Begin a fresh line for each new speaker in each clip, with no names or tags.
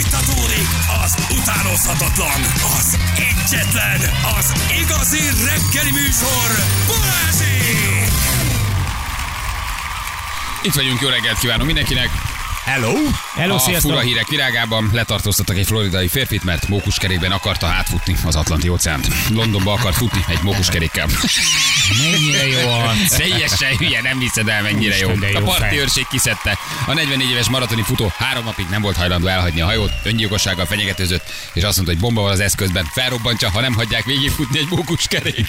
Fújtatódik az utánozhatatlan, az egyetlen, az igazi reggeli műsor, Balázsi!
Itt vagyunk, jó reggelt kívánunk mindenkinek.
Hello!
Hello,
Hello,
a
sziasztok!
fura hírek virágában letartóztattak egy floridai férfit, mert mókuskerékben akarta átfutni az Atlanti óceánt. Londonba akart futni egy mókuskerékkel.
Mennyire jó arc!
Teljesen hülye, nem hiszed el, mennyire jó.
Isten, de jó
A parti
fej.
őrség kiszedte. A 44 éves maratoni futó három napig nem volt hajlandó elhagyni a hajót, öngyilkossággal fenyegetőzött, és azt mondta, hogy bomba van az eszközben. Felrobbantja, ha nem hagyják végigfutni egy mókuskerék.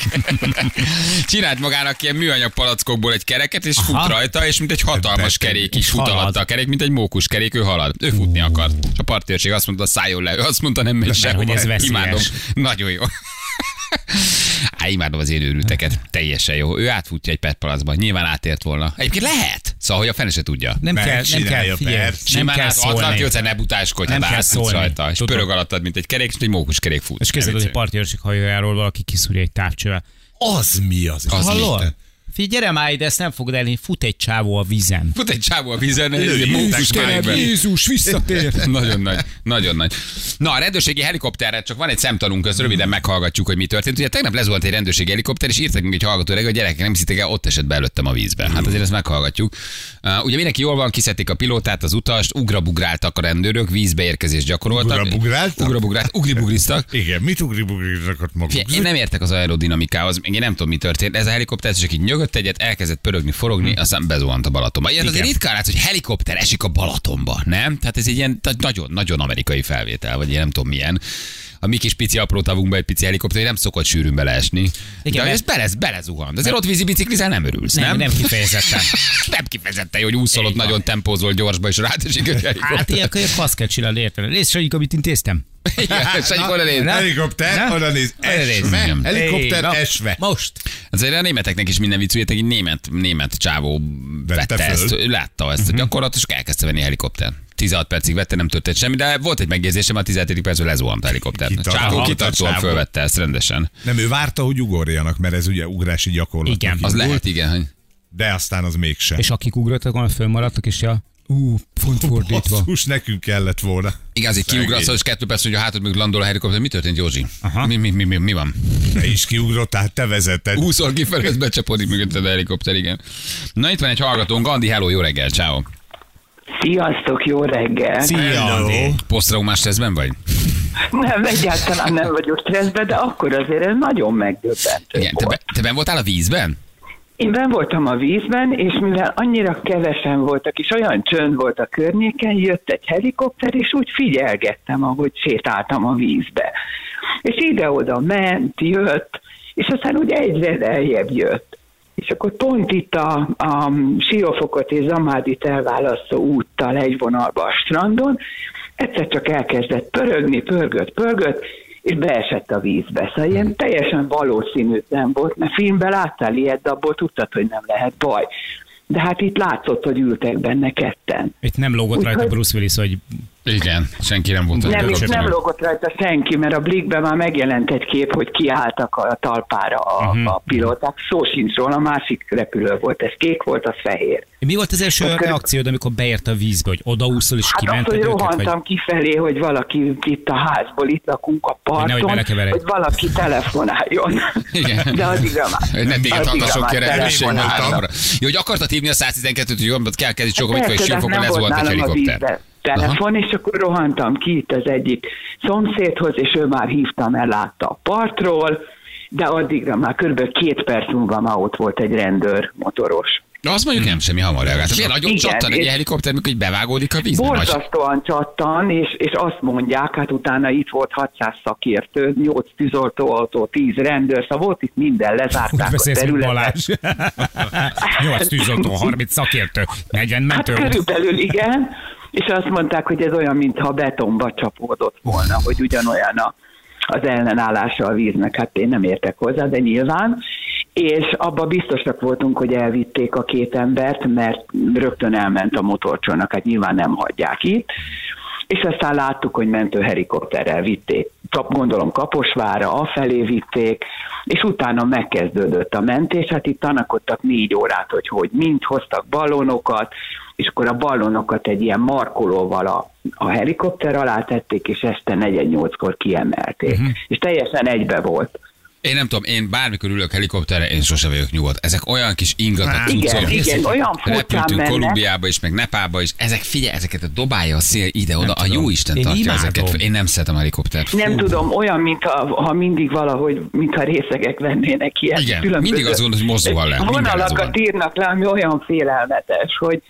Csinált magának ilyen műanyag palackokból egy kereket, és fut
Aha.
rajta, és mint egy hatalmas
Beteg.
kerék is
És
fut
halad.
alatta a kerék, mint egy mókuskerék, ő halad. Ő futni akart. És a parti őrség azt mondta, szálljon le. Ő azt mondta, nem megy
Mert
sehova.
hogy ez veszélyes.
Imádom. Nagyon jó. Á, imádom az én őrülteket.
Hát.
Teljesen jó. Ő átfutja egy petpalacba. Nyilván átért volna. Egyébként lehet. Szóval, hogy a fene se tudja.
Nem
Mert
kell, nem kell,
csinálja,
figyelj,
persze.
nem
Simán
kell
át Atlanti
szólni.
óceán ne butáskodj,
Nem
hát
kell
átszúsz
szólni.
rajta. És
Tudom.
pörög alattad, mint egy kerék, és egy mókuskerék fut.
És képzeld, hogy a parti őrség hajójáról valaki kiszúrja egy távcsővel.
Az mi az?
Az mi?
Isten?
Hallod? Figyelj, gyere már ide, ezt nem fogod elni, fut egy csávó a vízen.
Fut egy csávó a vízen, egy
Lőjétek
mókuskerékben.
Jézus, visszatér!
Nagyon nagy, nagyon nagy. Na, a rendőrségi helikopterre csak van egy szemtanunk, ezt röviden meghallgatjuk, hogy mi történt. Ugye tegnap lezuhant egy rendőrségi helikopter, és írtak még egy hallgató reggel, hogy gyerekek, nem hiszitek el, ott esett be előttem a vízbe. Hát azért ezt meghallgatjuk. Uh, ugye mindenki jól van, kiszedték a pilótát, az utast, ugrabugráltak a rendőrök, vízbeérkezést gyakoroltak.
Ugrabugráltak?
Ugrabugráltak, ugribugriztak.
Igen, mit ugribugrizakat maguk?
Figyelj, Én nem értek az aerodinamikához, meg én nem tudom, mi történt. Ez a helikopter csak így nyögött egyet, elkezdett pörögni,
Hm.
forogni, aztán bezuhant a Balatonba. Ilyen azért ritkán látsz, hogy helikopter esik a Balatonba, nem? Tehát ez egy ilyen ta- nagyon, nagyon amerikai felvétel, vagy én nem tudom milyen. A mi kis pici apró tavunkba egy pici helikopter nem szokott sűrűn beleesni. Igen, De
mert-
hogy ez belez, belezuhant. Azért ott vízi biciklizál nem örülsz, nem?
Nem, nem kifejezetten.
nem kifejezetten, hogy úszol ott
Így van.
nagyon tempózol gyorsba, és rád esik egy
Hát
helikopter.
ilyenkor azt kell csinálni, érted? Nézd, Sanyik, amit intéztem.
Igen, és egy Hát, oda néz.
Helikopter,
Na?
oda néz,
néz,
esve,
igen.
helikopter
na,
esve.
Most.
Azért a németeknek is minden vicc, ugye, egy német, német csávó
Vette
vette
föl. Mhm.
ezt, ő látta ezt a gyakorlatot, és elkezdte venni a helikoptert. 16 percig vette, nem történt semmi, de volt egy megjegyzésem, a 17. percben lezuhant a helikopter.
Kitart-
Csávó
Aha,
kitartóan
csávó.
fölvette ezt rendesen.
Nem, ő várta, hogy ugorjanak, mert ez ugye ugrási gyakorlat.
Igen.
Az lehet, igen, hogy
De aztán az mégsem.
És akik ugrottak, olyan fönnmaradtak, és ja, ú, font fordítva.
Basszus, nekünk kellett volna.
igaz, így
Szegény.
kiugrasz, és kettő perc, hogy a hátad mögött landol a helikopter. Mi történt, Józsi? Mi, mi, mi, mi, mi van?
Te is kiugrottál, te vezeted.
Húszor kifelé, ez becsapodik mögötted a helikopter, igen. Na itt van egy hallgatónk, Gandhi, hello, jó reggel, ciao.
Sziasztok, jó reggel!
Hello.
Andi.
Posztraumás stresszben vagy?
Nem, egyáltalán nem vagyok stresszben, de akkor azért ez nagyon megdöbbentő
Igen, te,
volt.
be, te ben voltál a vízben?
Én ben voltam a vízben, és mivel annyira kevesen voltak, és olyan csönd volt a környéken, jött egy helikopter, és úgy figyelgettem, ahogy sétáltam a vízbe. És ide-oda ment, jött, és aztán úgy egyre eljebb jött. És akkor pont itt a, a Siófokot és Zamádit elválasztó úttal egy vonalba a strandon, egyszer csak elkezdett pörögni, pörgött, pörgött, és beesett a vízbe. Szóval ilyen teljesen valószínűtlen volt, mert filmben láttál ilyet, de abból tudtad, hogy nem lehet baj. De hát itt látszott, hogy ültek benne ketten.
Itt nem lógott rajta
Úgyhogy-
Bruce Willis, hogy
Igen, senki nem volt. a
Nem,
helikopteren.
itt nem lógott rajta senki, mert a blikben már megjelent egy kép, hogy kiálltak a talpára a, a pilóták. Szó sincs róla, a másik repülő volt, ez kék volt, az fehér.
Mi volt az első
Akkor-
reakciód, amikor beért a vízbe, hogy odaúszol és
Hát azt,
kimented
hogy
őket?
rohantam
Vagy...
kifelé, hogy valaki itt a házból, itt lakunk a
nehogy
parton,
belekeveredj.
hogy valaki telefonáljon.
Igen.
De addigra már.
Hogy nem téged
addigra
hallgasson
már
ki a rendőrség
telefonáltak.
háromra. Jó, hogy akartad hívni a 112-t, hogy jobban kell kezdeni
Hát
csókom, hogy
persze,
és
de
jön
nem
ez
volt
volt egy
nálam a
helikopter.
vízbe telefon, és akkor rohantam ki itt az egyik szomszédhoz, és ő már hívta, mert látta a partról, de addigra már körülbelül két perc múlva már ott volt egy rendőr motoros.
Na, azt mondjuk nem semmi hamar reagált. Ilyen nagyon
Igen,
csattan egy
és-
helikopter, mikor így bevágódik a vízbe. Nagy-
Borzasztóan csattan, és, és azt mondják, hát utána itt volt 600 szakértő, 8 tűzoltóautó, 10 rendőr, szóval volt itt minden,
Úgy
lezárták a
beszélsz, mint
területet.
Balázs. 8 tűzoltó, 30 szakértő, 40
Hát
mentő.
körülbelül igen, és azt mondták, hogy ez olyan, mintha betonba csapódott volna, hogy ugyanolyan a, az ellenállása a víznek, hát én nem értek hozzá, de nyilván, és abba biztosak voltunk, hogy elvitték a két embert, mert rögtön elment a motorcsónak, hát nyilván nem hagyják itt, és aztán láttuk, hogy mentőhelikopterrel vitték, Kap- gondolom Kaposvára, afelé vitték, és utána megkezdődött a mentés, hát itt tanakodtak négy órát, hogy hogy mint, hoztak ballonokat, és akkor a ballonokat egy ilyen markolóval a, a helikopter alá tették, és este 4-8-kor kiemelték.
Mhm.
Uh-huh. És teljesen egybe volt.
Én nem tudom, én bármikor ülök helikopterre, én sose vagyok nyugodt. Ezek olyan kis ingatag
Hát, igen, igen, olyan furcsán
Repültünk
menne.
Kolumbiába is, meg Nepába is. Ezek, figyelj, ezeket a dobálja a szél ide-oda. A jó Isten
Én
tartja
imádom.
ezeket. Én nem szeretem a helikoptert.
Nem
Fú.
tudom, olyan, mintha ha mindig valahogy, mintha részegek vennének ilyen
Igen,
különböző.
mindig az gond, hogy mozdul le, minden ez van.
Vonalakat írnak le, ami olyan félelmetes, hogy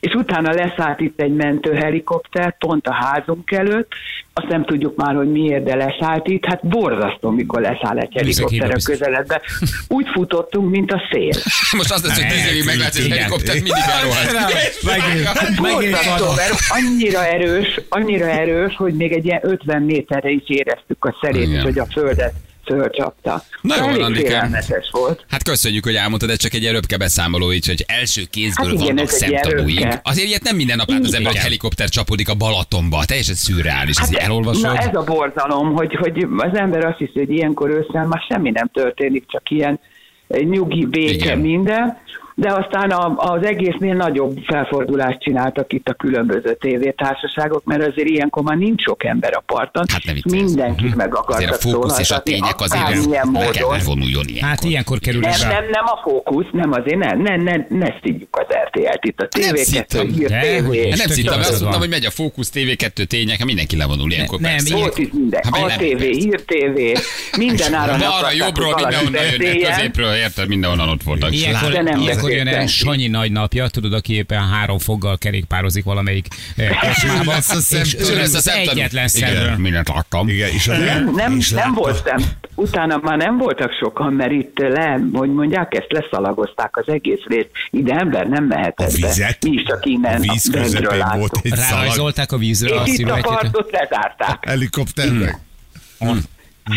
és utána leszállt itt egy mentőhelikopter, pont a házunk előtt, azt nem tudjuk már, hogy miért, de leszállt itt, hát borzasztó, mikor leszáll egy helikopter
hírba
a
biztos.
közeledbe. Úgy futottunk, mint a szél.
Most azt lesz, hogy tíz évig meglátsz egy
Igen.
helikoptert, mindig elrohadt.
Megint
Borzasztó,
van.
mert annyira erős, annyira erős, hogy még egy ilyen 50 méterre is éreztük a
Igen.
szerét, hogy a földet fölcsapta.
Na jól,
Elég
Andikám.
félelmetes volt.
Hát köszönjük, hogy elmondtad, ez csak egy erőbke beszámoló, így, hogy első kézből
Hát igen,
vannak
ez egy
szemtanúink.
erőbke.
Azért ilyet nem minden nap lát az ember, hogy
Igen.
helikopter csapódik a Balatonba. Teljesen szürreális. Hát, elolvasod?
Na ez a borzalom, hogy, hogy az ember azt hiszi, hogy ilyenkor ősszel már semmi nem történik, csak ilyen nyugi, béke,
Igen.
minden. De aztán a, az egésznél nagyobb felfordulást csináltak itt a különböző tévétársaságok, mert azért ilyenkor már nincs sok ember a parton,
Hát ne
és
viccelj.
mindenkit meg
Azért a
akartak
fókusz és a
szólaltatni,
tények azért
akármilyen
le kell,
módon.
hogy vonuljon ilyenkor.
Hát ilyenkor kerül
Nem,
is rá.
nem, nem a fókusz, nem azért, ne, ne, ne, ne szidjuk az RTL-t itt a
Nem szittem.
TV2, Hír
De,
TV.
hogy
Hát nem
Tök
szittem,
igazad
azt
van.
mondtam, hogy megy a Fókusz TV2 tények, hát mindenki levonul ilyenkor
Nem,
persze.
ilyen-
Volt itt minden.
Hát miért nem?
ATV, Hír TV, minden áron
Balra,
akarták,
jobbról,
hogy valaki
mindenhonnan jönnek,
beszéljen.
középről, érted, mindenhonnan ott voltak.
Ilyenkor,
De nem
ilyenkor jön el
beszéltünk.
Sanyi nagynapja, tudod, aki éppen három foggal kerékpározik valamelyik eh, kocsmába,
lesz a
és
szemtanú.
ő
Ő
lesz az
szemtanú.
egyetlen
Igen,
szemről.
mindent láttam.
Igen, és a
Nem, nem,
és
nem
látta-
volt szem. Utána már nem voltak sokan, mert itt le, hogy mondják, ezt leszalagozták az egész részt. Ide ember nem
A
mehetett be.
vizet?
Mi is csak
A
innen
víz
a bentről
közepén
láttuk.
volt egy szalag
Rárajzolták a vízre a
És itt a
sziluettjét.
partot lezárták.
helikopternek.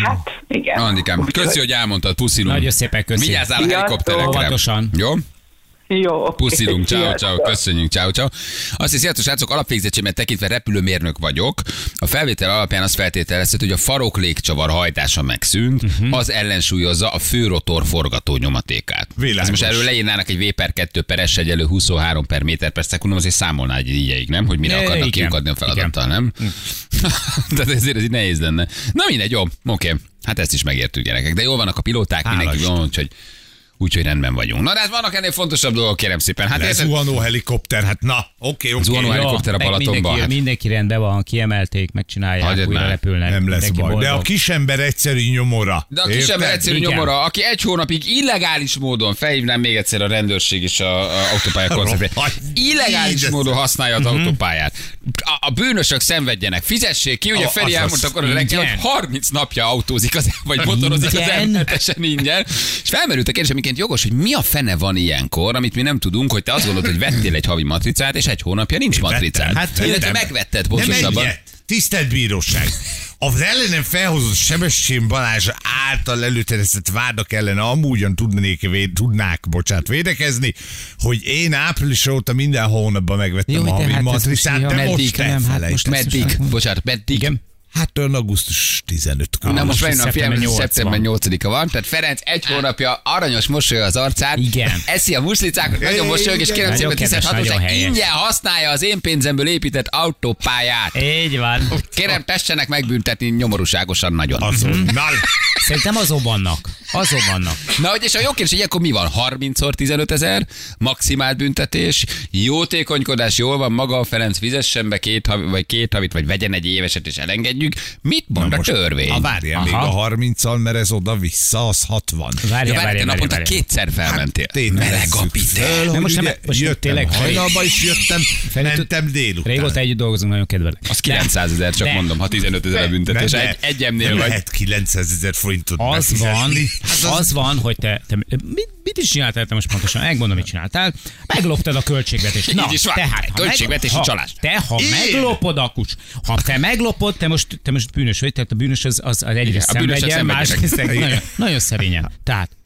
Hát, igen.
Andikám,
Úgyhogy-
köszi, hogy elmondtad, puszilunk.
Nagyon szépen köszi.
Vigyázzál a
Sziasztok.
helikopterekre.
Óvatosan.
Jó?
Jó, oké,
Puszilunk, ciao, ciao,
sziasztok.
köszönjük, ciao, ciao. Azt hiszem, sziasztok, srácok, alapvégzettségemet tekintve repülőmérnök vagyok. A felvétel alapján azt feltételezhető, hogy a farok légcsavar hajtása megszűnt, uh-huh. az ellensúlyozza a főrotor forgató nyomatékát.
Világos.
Ez most erről leírnának egy V per 2 per S egyenlő 23 per méter per szekundum, azért számolná egy igyeig, nem? Hogy mire
É,
akarnak
igen.
kiukadni a feladattal, nem? Tehát ezért ez így nehéz lenne. Na mindegy, jó, oké. Hát ezt is megértük, gyerekek. De jól vannak a pilóták, mindenki jól van, úgyhogy Úgyhogy rendben vagyunk. Na, de hát vannak ennél fontosabb dolgok, kérem szépen. Hát érted?
Zuhanó helikopter, hát na, oké,
Zuhanó
oké.
heli-
jó.
helikopter a
meg
Balatonba,
Mindenki,
hát.
mindenki rendben van, kiemelték, megcsinálják,
Hagyjad
újra
már.
repülnek.
Nem lesz
mindenki
baj. De a
boldog.
kisember egyszerű nyomora.
De a kisember
Érted?
egyszerű
Igen.
nyomora, aki egy hónapig illegális módon, felhívnám még egyszer a rendőrség és a, a autópálya konceptre,
Rohadt.
illegális
Jézus.
módon használja az autópályát. A, a bűnösök szenvedjenek, fizessék ki, ugye
A-
Feri
azaz.
elmondta akkor a reggel, hogy
Ingyen.
30 napja autózik, az, vagy motorozik az
Ingyen.
emberesen ingyen. És felmerült a kérdés, amiként jogos, hogy mi a fene van ilyenkor, amit mi nem tudunk, hogy te azt gondolod, hogy vettél egy havi matricát, és egy hónapja nincs matricát.
vettem.
Hát, illetve
vettem.
megvetted
Nem
pontosabban.
egyet. Tisztelt bíróság! Az ellenem felhozott Sebestyén Balázs által előteresztett vádak ellen amúgyan tudnék, véd, tudnák, bocsánat, védekezni, hogy én április óta minden hónapban megvettem
Jó,
a
de
havi
hát ez
matricát,
most
de
jó, meddig?
most
Nem, hát most
elfelejtettem.
meg-
Meddig? Bocsánat, meddig? Igen.
Hát olyan augusztus 15 kor
Na most bejön a
szeptember
fiam, hogy
8
szeptember
van. Hát.
8-a van, tehát Ferenc egy hónapja aranyos mosoly az arcán,
Igen.
eszi a muszlicákat, nagyon
Igen.
mosolyog, és kérem
Nagyon
szépen
kedves,
tisztelt hatóság,
nagyon helyes.
ingyen használja az én pénzemből épített autópályát.
Így van.
Kérem, tessenek megbüntetni nyomorúságosan nagyon.
Azonnal.
Szerintem azon vannak. Azon vannak.
Na, hogy és a jó kérdés, hogy ilyenkor mi van? 30-szor 15 ezer, maximált büntetés, jótékonykodás, jól van, maga a Ferenc fizessen be két, havi, vagy két havit, vagy vegyen egy éveset, és elengedjük. Mit mond a törvény?
A várjál még
Aha.
a 30-al, mert ez oda-vissza, az 60.
Ja,
Várjál,
várj, te
várjál,
naponta
várjál.
kétszer felmentél.
Hát, Tényleg
Meleg a
veszük
pite.
föl, hogy
most nem-
ugye
most
jöttem
tényleg, Feri-
hajnalba, és jöttem,
Feri, tud-
mentem délután.
Régóta együtt dolgozunk, nagyon kedvelek.
Az 900 ezer, csak
De.
mondom, ha 15 ezer a büntetés.
Nem,
Egy,
nem.
egy emnél
Nem
vagy.
Lehet 900 ezer forintot Hát
Az van,
befizetni.
Hát
az, az van, hogy te, te mit, mit is csináltál te most pontosan? Megmondom, mit csináltál. Megloptad a költségvetést.
Így is van.
ha
Költségvetési
ha-
csalás.
Te, ha
Én?
meglopod a kucs, ha te meglopod, te most, te most bűnös vagy, tehát a bűnös az, az, az egyrészt
a bűnösek
szenvedjen,
szenvedjenek.
másrészt
Igen.
nagyon, nagyon szerényen. Tehát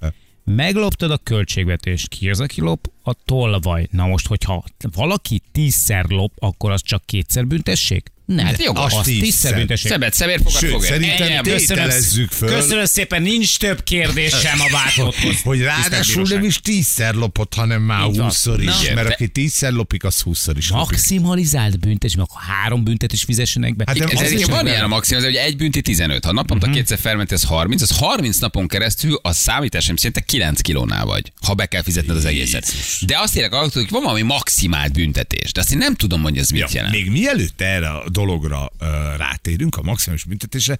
megloptad a költségvetést, ki az, aki lop? A tolvaj. Na most, hogyha valaki tízszer lop, akkor az csak kétszer büntessék? Ne, hát
jogos.
azt
Azt
tízszer
tízszer.
büntesség.
Szebbet, szevér fogad
Sőt,
fogad.
szerintem
Ennyi.
tényleg- tételezzük föl.
Köszönöm szépen, nincs több kérdésem a vádlotthoz.
Hogy ráadásul nem is tízszer lopott, hanem már
Így van.
húszszor
Na.
is.
Igen,
Mert
de-
aki tízszer lopik, az húszszor is lopik.
Maximalizált büntetés, mert akkor három büntetés fizessenek be.
Hát de
Ez
az
egyébként
is
van
ember.
ilyen a maximum, hogy egy bünti 15. Ha naponta
Mhm.
kétszer fermenti, az 30. Az 30 napon keresztül a számításom szerint te 9 kilónál vagy, ha be kell fizetned az egészet. De azt tényleg alakult, hogy van valami maximált büntetés. De azt én nem tudom, hogy ez mit jelent.
Még mielőtt erre a dologra ö, rátérünk, a maximális büntetésre,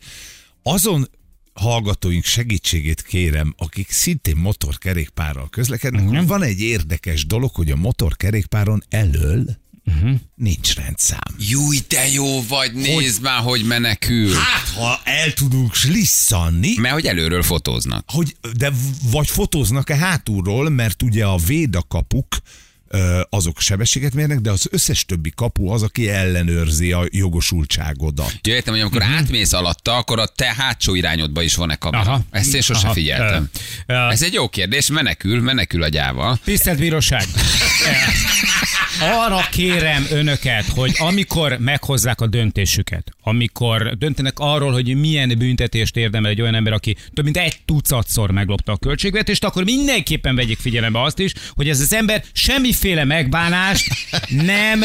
azon hallgatóink segítségét kérem, akik szintén motorkerékpárral közlekednek,
Mhm.
uh-huh. van egy érdekes dolog, hogy a motorkerékpáron elől uh-huh.
Mhm.
nincs rendszám.
Júj, de jó vagy, nézd már, hogy menekül.
Hát, ha el tudunk lisszanni,
Mert hogy előről fotóznak.
hogy, de v- vagy fotóznak-e hátulról, mert ugye a védakapuk ö, azok sebességet mérnek, de az összes többi kapu az, aki ellenőrzi a jogosultságodat.
Ja, értem, hogy amikor átmész alatta, akkor a te hátsó irányodba is van-e kamera. Aha.
Aha.
Ezt én sose
Aha.
figyeltem.
Ö, ö.
Ez egy jó kérdés, menekül, menekül a gyáva.
Tisztelt bíróság! Arra kérem önöket, hogy amikor meghozzák a döntésüket, amikor döntenek arról, hogy milyen büntetést érdemel egy olyan ember, aki több mint egy tucatszor meglopta a költségvetést, akkor mindenképpen vegyék figyelembe azt is, hogy ez az ember semmiféle megbánást nem,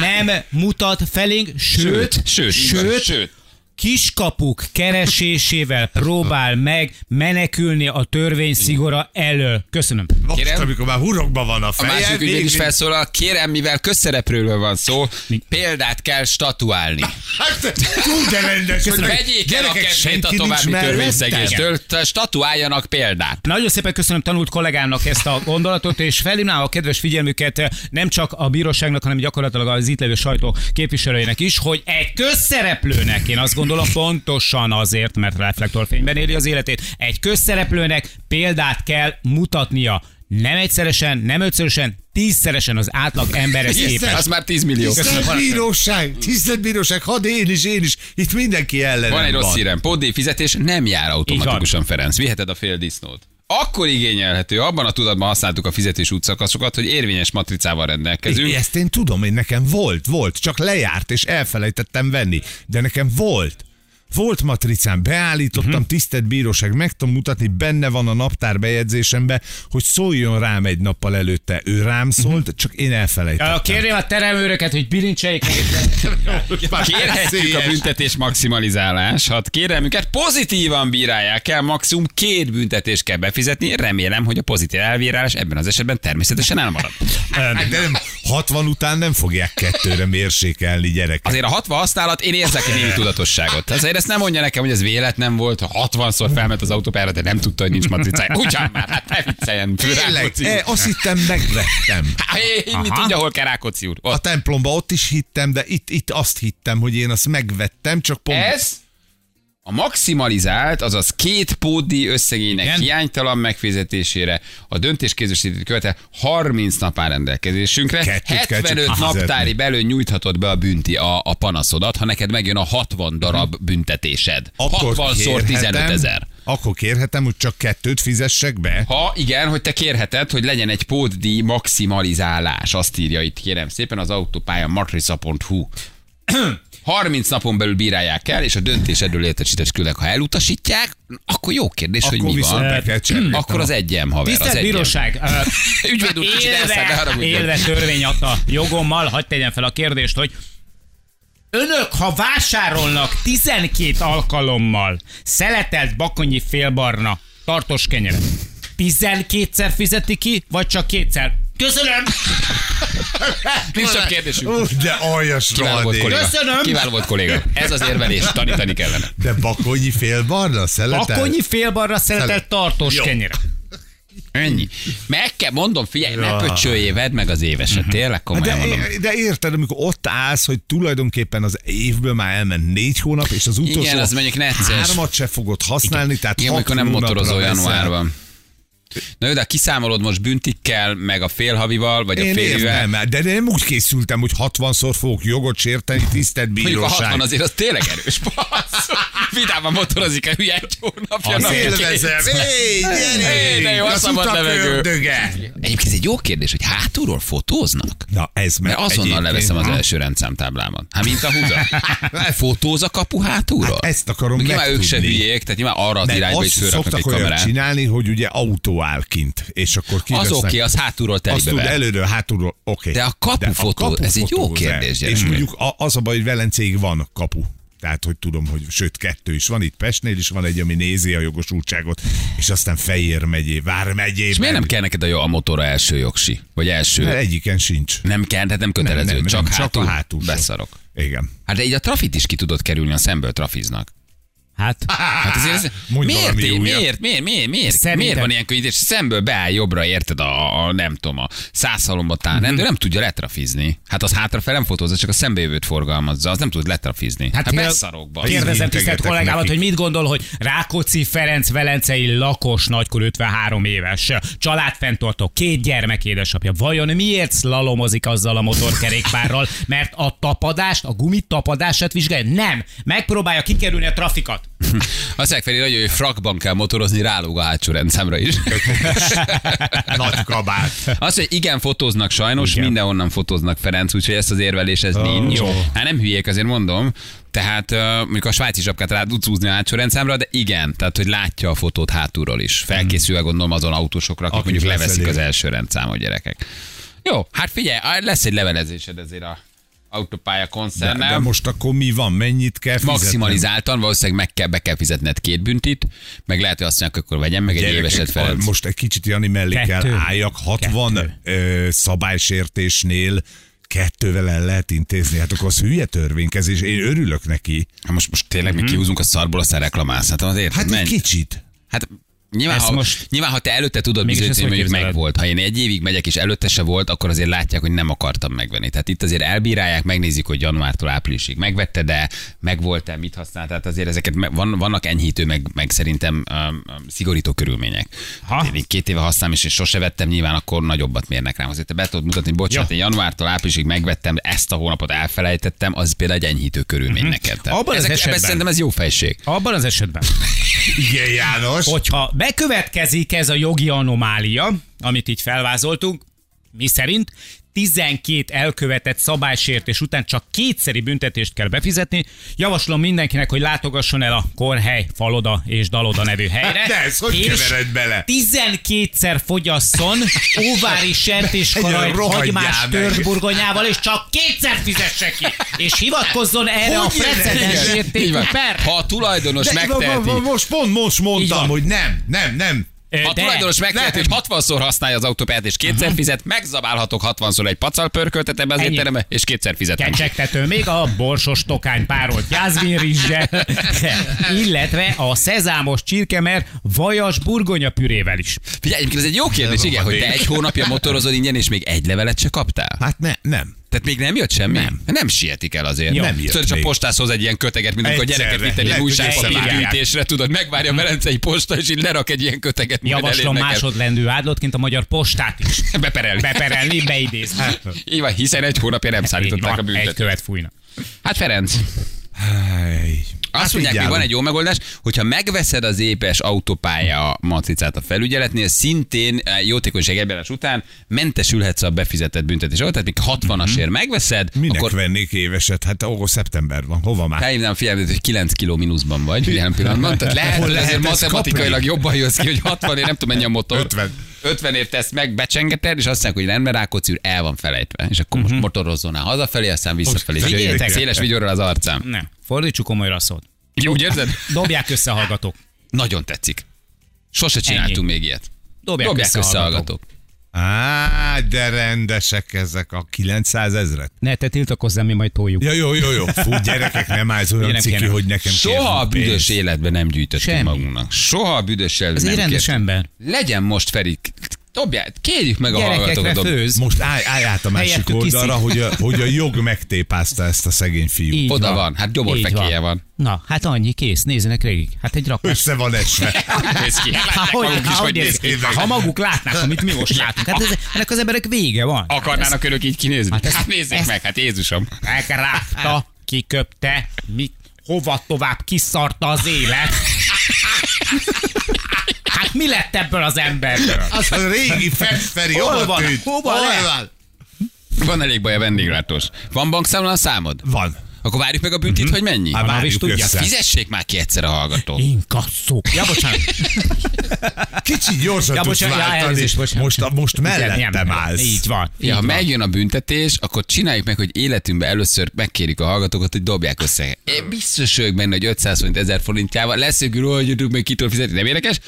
nem mutat felénk, sőt,
sőt,
sőt,
sőt.
kiskapuk keresésével próbál meg menekülni a törvény szigora elől. Köszönöm.
Most,
Kérem?
amikor már hurokban van a
A
feje,
másik ügyvéd is felszólal, kérem, mivel közszereplőről van szó, példát kell statuálni.
Hát, tud de rendes, hogy
Vegyék el
gyerekek,
a kedvét a
senki nincs
további
mellette.
törvényszegéstől, t- statuáljanak példát.
Nagyon szépen köszönöm tanult kollégámnak ezt a gondolatot, és felhívnám a kedves figyelmüket eh, nem csak a bíróságnak, hanem gyakorlatilag az itt levő sajtó képviselőinek is, hogy egy közszereplőnek, én azt gondolom pontosan azért, mert reflektorfényben éli az életét, egy közszereplőnek példát kell mutatnia. Nem egyszeresen, nem ötszörösen, tízszeresen az átlag emberhez
Igen,
képest.
Az már 10 millió.
Tisztelt bíróság, tisztelt bíróság, hadd én is, én is, itt mindenki ellen
Van egy rossz hírem, pótdíj fizetés nem jár automatikusan, Ferenc. Viheted a fél disznót. Akkor igényelhető, abban a tudatban használtuk a fizetés útszakaszokat, hogy érvényes matricával rendelkezünk.
Én, ezt én tudom, én nekem volt, volt, csak lejárt, és elfelejtettem venni. De nekem volt. Volt matricám, beállítottam,
Mhm.
uh-huh. tisztelt bíróság, meg tudom mutatni, benne van a naptár bejegyzésembe, hogy szóljon rám egy nappal előtte. Ő rám szólt,
Mhm.
uh-huh. csak én elfelejtettem.
Ö, Kérném a teremőröket, hogy bilincseljék meg.
Kérhetjük a büntetés maximalizálás. Ha kérelmüket pozitívan bírálják el, maximum két büntetést kell befizetni. Remélem, hogy a pozitív elvírálás ebben az esetben természetesen elmarad.
Hát
Hát
De nem, 60 után nem fogják kettőre mérsékelni gyerek.
Azért a 60 használat, én érzek egy némi tudatosságot. Azért ezt nem mondja nekem, hogy ez véletlen volt, ha 60-szor felment az autópályára, de nem tudta, hogy nincs matricája. Ugyan már, hát ne vicceljen.
Tényleg,
Rákóczi úr.
e, azt hittem megvettem.
Há, én Mit tudja, hol kell Rákóczi úr?
A
Ott.
templomba ott is hittem, de itt, itt azt hittem, hogy én azt megvettem, csak pont...
Ez a maximalizált, azaz két pódi összegének Igen?
Igen.
hiánytalan megfizetésére a döntéskézősítőt követel 30 nap áll rendelkezésünkre.
Kettőt kell csak
75
kifizetni.
naptári belül nyújthatod be a bünti a, a panaszodat, ha neked megjön a 60 darab büntetésed. 60-szor 15
Mhm. kérhetem-
ezer.
Akkor kérhetem, hogy csak kettőt fizessek be.
Ha igen, hogy te kérheted, hogy legyen egy pótdíj maximalizálás, azt írja itt kérem szépen az autópálya matrica.hu. 30 napon belül bírálják el, és a döntésedről értesítés külnek. Ha elutasítják, akkor jó kérdés,
Akkor
hogy mi
viszont
van.
be kell cserélni.
Akkor az egyem, haver. az
Tisztelt
egyem.
bíróság! ö,
Ügyvéd úr, kicsit elszállt, de
élve,
haragudjon.
élve törvény adta jogommal, hagyd tegyem fel a kérdést, hogy Önök, ha vásárolnak 12 alkalommal szeletelt bakonyi félbarna tartós kenyeret, 12-szer fizeti ki, vagy csak kétszer? Köszönöm!
Nincs több kérdésünk.
Ú, de aljas
Kiváló volt
rohadék.
kolléga.
Köszönöm.
Kiváló volt kolléga. Ez az érvelés, tanítani kellene.
De bakonyi fél barna
Hát
szeletel?
Bakonyi félbarna szeletelt tartós
Jó.
kenyeret.
Ennyi. Meg kell, mondom, figyelj, ne pöcsöljé, vedd meg az éveset, tényleg komolyan
De,
mondom.
é- de érted, amikor ott állsz, hogy tulajdonképpen az évből már elment négy hónap, és az utolsó
Igen, az mondjuk necces.
hármat se fogod használni, tehát
Igen,
hat
amikor nem
hónapra
motorozol
veszel.
januárban. Na jó, de ha kiszámolod most büntikkel, meg a félhavival, vagy a
Én
félivel.
értem, de én nem úgy készültem, hogy 60-szor fogok jogot sérteni, tisztelt
Mondjuk a 60
bíróság.
azért az tényleg erős. Basz. Vidáman motorozik a hülye egy hónapja.
Azt
napi
élvezem.
kétszer.
Hé,
Hé, de
gyerünk!
jó, a
Az
szabad
utak
levegő.
ördöge.
Egyébként ez egy jó kérdés, hogy hátulról fotóznak?
Na ez meg
Mert azonnal
egyébként-
leveszem az e-
Ha?
első rendszámtáblában. Hát mint a húza. Fotóz a kapu hátulról?
Hát ezt akarom
Még nyilván ők se
megtudni.
hülyék, tehát nyilván arra az
Mert
irányba is
azt
fölraknak egy
szoktak olyat
kamerát.
csinálni, hogy ugye autó áll kint, és akkor
Az
kivesznek.
oké, az hátulról
Azt
telibe
tud
ver.
előről, hátulról, oké.
De a kapufotó, ez egy jó
fotózás.
kérdés,
És
gyerekek.
mondjuk a- az a baj, hogy Velencéig van kapu. Tehát, hogy tudom, hogy sőt, kettő is van itt Pestnél, is van egy, ami nézi a jogosultságot, és aztán Fejér megyé, Vár megyé.
És miért nem kell neked a, jó- a motorra első jogsi? Vagy első?
Egyiken sincs.
Nem kell, tehát nem kötelező,
Nem, nem,
csak,
nem, csak
hátul,
a hátulsó.
Beszarok.
Igen.
Hát de így a trafit is ki tudod kerülni, a szemből trafiznak.
Hát,
Hát azért ez,
Mondj
miért,
valami
miért,
újat.
miért, miért, miért, miért,
Szerintem-
miért van ilyen könnyítés? Szemből beáll jobbra, érted, a, a nem tudom, a százszalomba tán,
Mhm.
rendőr nem tudja letrafizni. Hát az hátrafele nem fotózza, csak a szembejövőt forgalmazza, az nem tud letrafizni. Hát, hát
kérde-
beszarokba.
Így
Kérdezem tisztelt
integetek
kollégámat,
neki.
hogy mit gondol, hogy Rákóczi Ferenc velencei lakos, nagykor 53 éves, családfenntartó, két gyermek édesapja. Vajon miért szlalomozik azzal a motorkerékpárral? Mert a tapadást, a gumit tapadását vizsgálja? Nem! Megpróbálja kikerülni a trafikat.
Azt mondják felé, nagyon jó, hogy frakban kell motorozni, rálóg a hátsó rendszámra is.
Nagy kabát.
Azt, hogy igen, fotóznak sajnos, igen. mindenhonnan fotóznak Ferenc, úgyhogy ezt az érvelés ez oh. nincs.
Jó.
Hát nem hülyék, azért mondom. Tehát uh, mondjuk a svájci sapkát rá tudsz húzni a hátsó rendszámra, de igen, tehát hogy látja a fotót hátulról is. Felkészülve gondolom azon autósokra, akik,
Akik
mondjuk leveszik
leszedik.
az első rendszámot gyerekek. Jó, hát figyelj, á, lesz egy levelezésed ezért a autópálya
De,
koncernnel.
de most akkor mi van? Mennyit kell fizetnem?
Maximalizáltan, valószínűleg meg kell, be kell fizetned két büntit, meg lehet, hogy azt mondják, akkor vegyem meg egy
Gyerekek,
éveset Ferenc.
a- Most egy kicsit Jani mellé kell
Kettő.
álljak. 60 ö, szabálysértésnél kettővel el lehet intézni. Hát akkor az hülye törvénykezés. Én örülök neki.
Hát Most, most tényleg mi kihúzunk a szarból, aztán reklamálsz. Hát, azért,
Mhm. Hát egy kicsit.
Hát nyilván
Ezt
ha, most...
most-
nyilván, ha te előtte tudod
Mégis
bizonyítani,
ezt
hogy
hogy
mondjuk meg
képzeled?
volt. Ha én egy évig megyek, és előtte se volt, akkor azért látják, hogy nem akartam megvenni. Tehát itt azért elbírálják, megnézik, hogy januártól áprilisig megvette, de megvolt-e, mit használt. Tehát azért ezeket me- van, vannak enyhítő, meg, meg szerintem um, szigorító körülmények. Ha? Én így két éve használom, és én sose vettem, nyilván akkor nagyobbat mérnek rám. Azért te be tudod mutatni, bocsánat, én januártól áprilisig megvettem, de ezt a hónapot elfelejtettem, az például egy enyhítő körülmény neked. Tehát
Mhm. Abban az
ezek- ebben
esetben-
szerintem ez jó fejség.
Abban az esetben,
Igen, János.
hogyha bekövetkezik ez a jogi anomália, amit így felvázoltunk, mi szerint 12 elkövetett szabálysértés után csak kétszeri büntetést kell befizetni. Javaslom mindenkinek, hogy látogasson el a Korhely Faloda és Daloda nevű helyre.
De ezt hogy
és
kevered bele?
12-szer fogyasszon óvári sertéskaraj
Egyen rohadjál
hagymás
meg.
törburgonyával, és csak kétszer fizesse ki. És hivatkozzon erre
Hogy
a precedens
jöhetett?
Így
értékű
van.
per.
Ha a tulajdonos
De
megteheti,
mo- mo- most pont most
Így
mondtam,
van.
hogy nem, nem, nem.
Ö,
ha a
de- Mhm.
tulajdonos megteheti,
Nem.
hogy 60-szor használja az autópályát és kétszer fizet, megzabálhatok 60-szor egy pacal pörköltet ebben az
Ennyi.
étteremben, és kétszer fizetem.
Kecsegtető még a borsos tokány párolt jászvinrizssel, illetve a szezámos csirkemer vajas burgonya pürével is.
Figyelj, egyébként ez egy jó kérdés, igen, hogy te egy hónapja motorozod ingyen, és még egy levelet se kaptál.
Hát ne, nem.
Tehát még nem jött semmi? Nem. Nem sietik el azért.
Jó. Nem jött
Tudod, csak
még.
postás hoz egy ilyen köteget, mint amikor a
Egyszerre.
gyereket vittem egy
Lehet, hogy
újságpapír
összevágják.
gyűjtésre, tudod, megvárja a Velencei posta, és így lerak egy ilyen köteget. majd
Mhm. Javaslom
elég neked.
másodlendű ádlotként a magyar postát is
Beperelni.
beperelni, beidézni.
Így van, hiszen egy hónapja nem szállították a
Így van, Egy
büntetést.
követ fújnak.
Hát Ferenc,
Hely.
Azt
Hát
mondják,
így
még van
állunk.
egy jó megoldás, hogyha megveszed az épes autópálya matricát a felügyeletnél, szintén eh, jótékonyság elbírás után mentesülhetsz a befizetett büntetés. alatt. Tehát még 60-asért megveszed,
Mhm. Minek
akkor
vennék éveset? Hát ó, szeptember van, hova már?
Felhívnám figyelmet, hogy 9 kiló mínuszban vagy jelen pillanatban. Tehát lehet,
Hol
hogy
lehet
azért
ezt
matematikailag
kapni?
jobban jössz ki, hogy 60 ér, nem tudom mennyi a motor.
50.
50 ért ezt meg, becsengeted, és azt mondják, hogy rendben, Rákóczi úr el van felejtve. És akkor most motorozzon el hazafelé, aztán visszafelé.
Mhm. Most
Jöjjön,
figyeljetek.
Széles vigyorral az arcám.
Nem, fordítsuk komolyra a szót.
Jó, Úgy érzed?
Dobják össze a hallgatók.
Nagyon tetszik. Sose csináltunk
Ennyi.
még ilyet.
Dobják,
Dobják össze
a hallgatók.
hallgatók.
Á, de rendesek ezek a 900 ezret.
Ne, te tiltakozz, mi majd toljuk.
Ja, jó, jó, jó. Fú, gyerekek, nem állsz
Ugye
olyan
nem
ciki,
kéne.
hogy nekem
Soha
kérnek
a büdös
pénzt.
életben nem gyűjtöttünk
Semmi.
magunknak. Soha a büdös
Ez
életben
egy
nem
rendes
kért.
ember.
Legyen most Feri Dobját, kérjük meg a
Gyerekekre
hallgatókat. dob-
főz.
Most állj, állj át a másik
Helyettük
oldalra,
iszik.
hogy a, hogy a jog megtépázta ezt a szegény fiút.
Így
Oda van, hát gyoborfekéje
Így
van.
Na, hát annyi, kész, nézzenek végig. Hát egy rakás.
Össze van esve.
Hogy néz ki?
Hát,
Látnák
hogy,
maguk is,
hát,
hogy
hogy
néz
néz
ki.
ki? ha maguk látnák, amit mi most látunk. Hát ez, ennek az emberek vége van.
Akarnának önök így kinézni?
Hát ezt-
Hát nézzék
ezt-
meg, hát Jézusom.
Megrágta, kiköpte, mit, hova tovább kiszarta az élet. Hát mi lett ebből az emberből?
Az a régi festferi,
Hol
hova
van?
tűnt?
Hova lett?
van?
Van elég baj a vendéglátós. Van bankszámlán a számod?
Van.
Akkor várjuk meg a büntit,
Mhm.
hogy mennyi?
Hát
is
várjuk
tudja.
össze.
Fizessék már ki egyszer a hallgatót.
Inkasszó. Ja, bocsánat.
Kicsit gyorsan
Ja,
tudsz
bocsánat, ja,
váltani,
elnézést,
és
bocsánat.
most, most
Igen,
mellettem
nem.
állsz.
Így van.
Ja, ha megjön a büntetés, akkor csináljuk meg, hogy életünkben először megkérik a hallgatókat, hogy dobják össze. Én biztos vagyok benne, hogy 500 forint, 1000 forintjával leszünk, hogy tudjuk meg kitől fizetni, nem érdekes?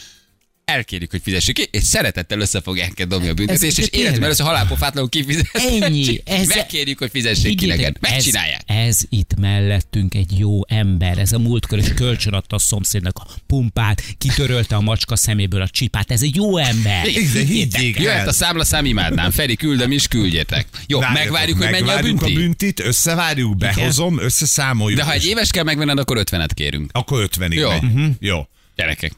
Elkérjük, hogy fizessük ki, és szeretettel össze fogják neked dobni a büntetést,
Ez-
és
de tényleg.
életünkben először halálpofátlanul kifizetjük.
Ennyi, ez-
Megkérjük, hogy fizessék ki
Higgyétek,
neked. Megcsinálják.
Ez, ez itt mellettünk egy jó ember. Ez a múltkor is kölcsön adta a szomszédnak a pumpát, kitörölte a macska szeméből a csipát. Ez egy jó ember.
Igen, de higgyék
Jöhet
el.
a számlaszám, imádnám. Feri, küldöm is, küldjetek. Jó,
Várjatok,
megvárjuk, hogy mennyi a
megvárjuk
bünti.
a büntit, összevárjuk, behozom, összeszámoljuk.
De ha egy
és
éves kell megvenned, akkor 50-et kérünk.
Akkor 50-ig
Jó. Mhm.
megy. Jó.
Gyerekek.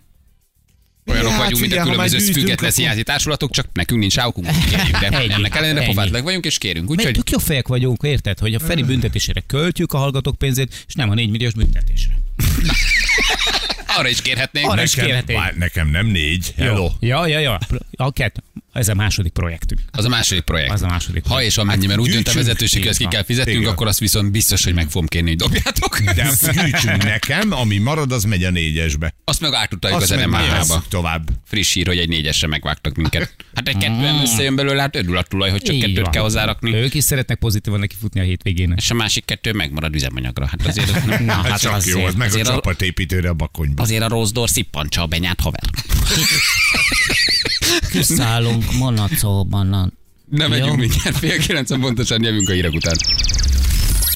Olyanok
Ja, hát
vagyunk, mint a
figyelj, ha
különböző
már gyűjtünk,
független
akkor-
színházi társulatok, csak nekünk nincs áukunk, kérjük, de
Ennyi,
ennek ellenére
ennyi.
pofátlag vagyunk, és Mm. kérünk.
Mert
Úgyhogy
tök jó fejek vagyunk, érted? Hogy a Feri büntetésére költjük a hallgatók pénzét, és nem a 4 milliós büntetésre.
arra is kérhetnénk.
Arra is
Nekem,
kérheték.
bár, nekem nem négy. Hello.
Ja, ja, ja. A kettő. Ez a második projektünk.
Az a második projekt.
Az a második
Ha és amennyi, mert úgy dönt a
gyűjtsünk.
vezetőség, hogy
Így
ezt ki
van.
kell fizetnünk,
Igen.
akkor azt viszont biztos, hogy meg fogom kérni, hogy dobjátok.
De gyűjtsünk nekem, ami marad, az megy a négyesbe.
Azt meg átutaljuk az
Azt meg
NMH-ba.
visszük tovább.
Friss hír, hogy egy négyesre megvágtak minket. Hát egy kettően összejön belőle, hát örül a tulaj, hogy csak
Így
kettőt
van.
kell hozzárakni.
Ők is szeretnek pozitívan neki futni a hétvégén.
És a másik kettő megmarad üzemanyagra. Hát azért, az nem-
Na,
Hát
hát
csak
azért-
jó, az meg a
azért a-
csapatépítőre a bakonyba.
azért a Rózdor szippantsa a benyát haver.
Kiszállunk Monacóban.
Nem
Jó.
megyünk mindjárt, fél kilencen pontosan jövünk a hírek után.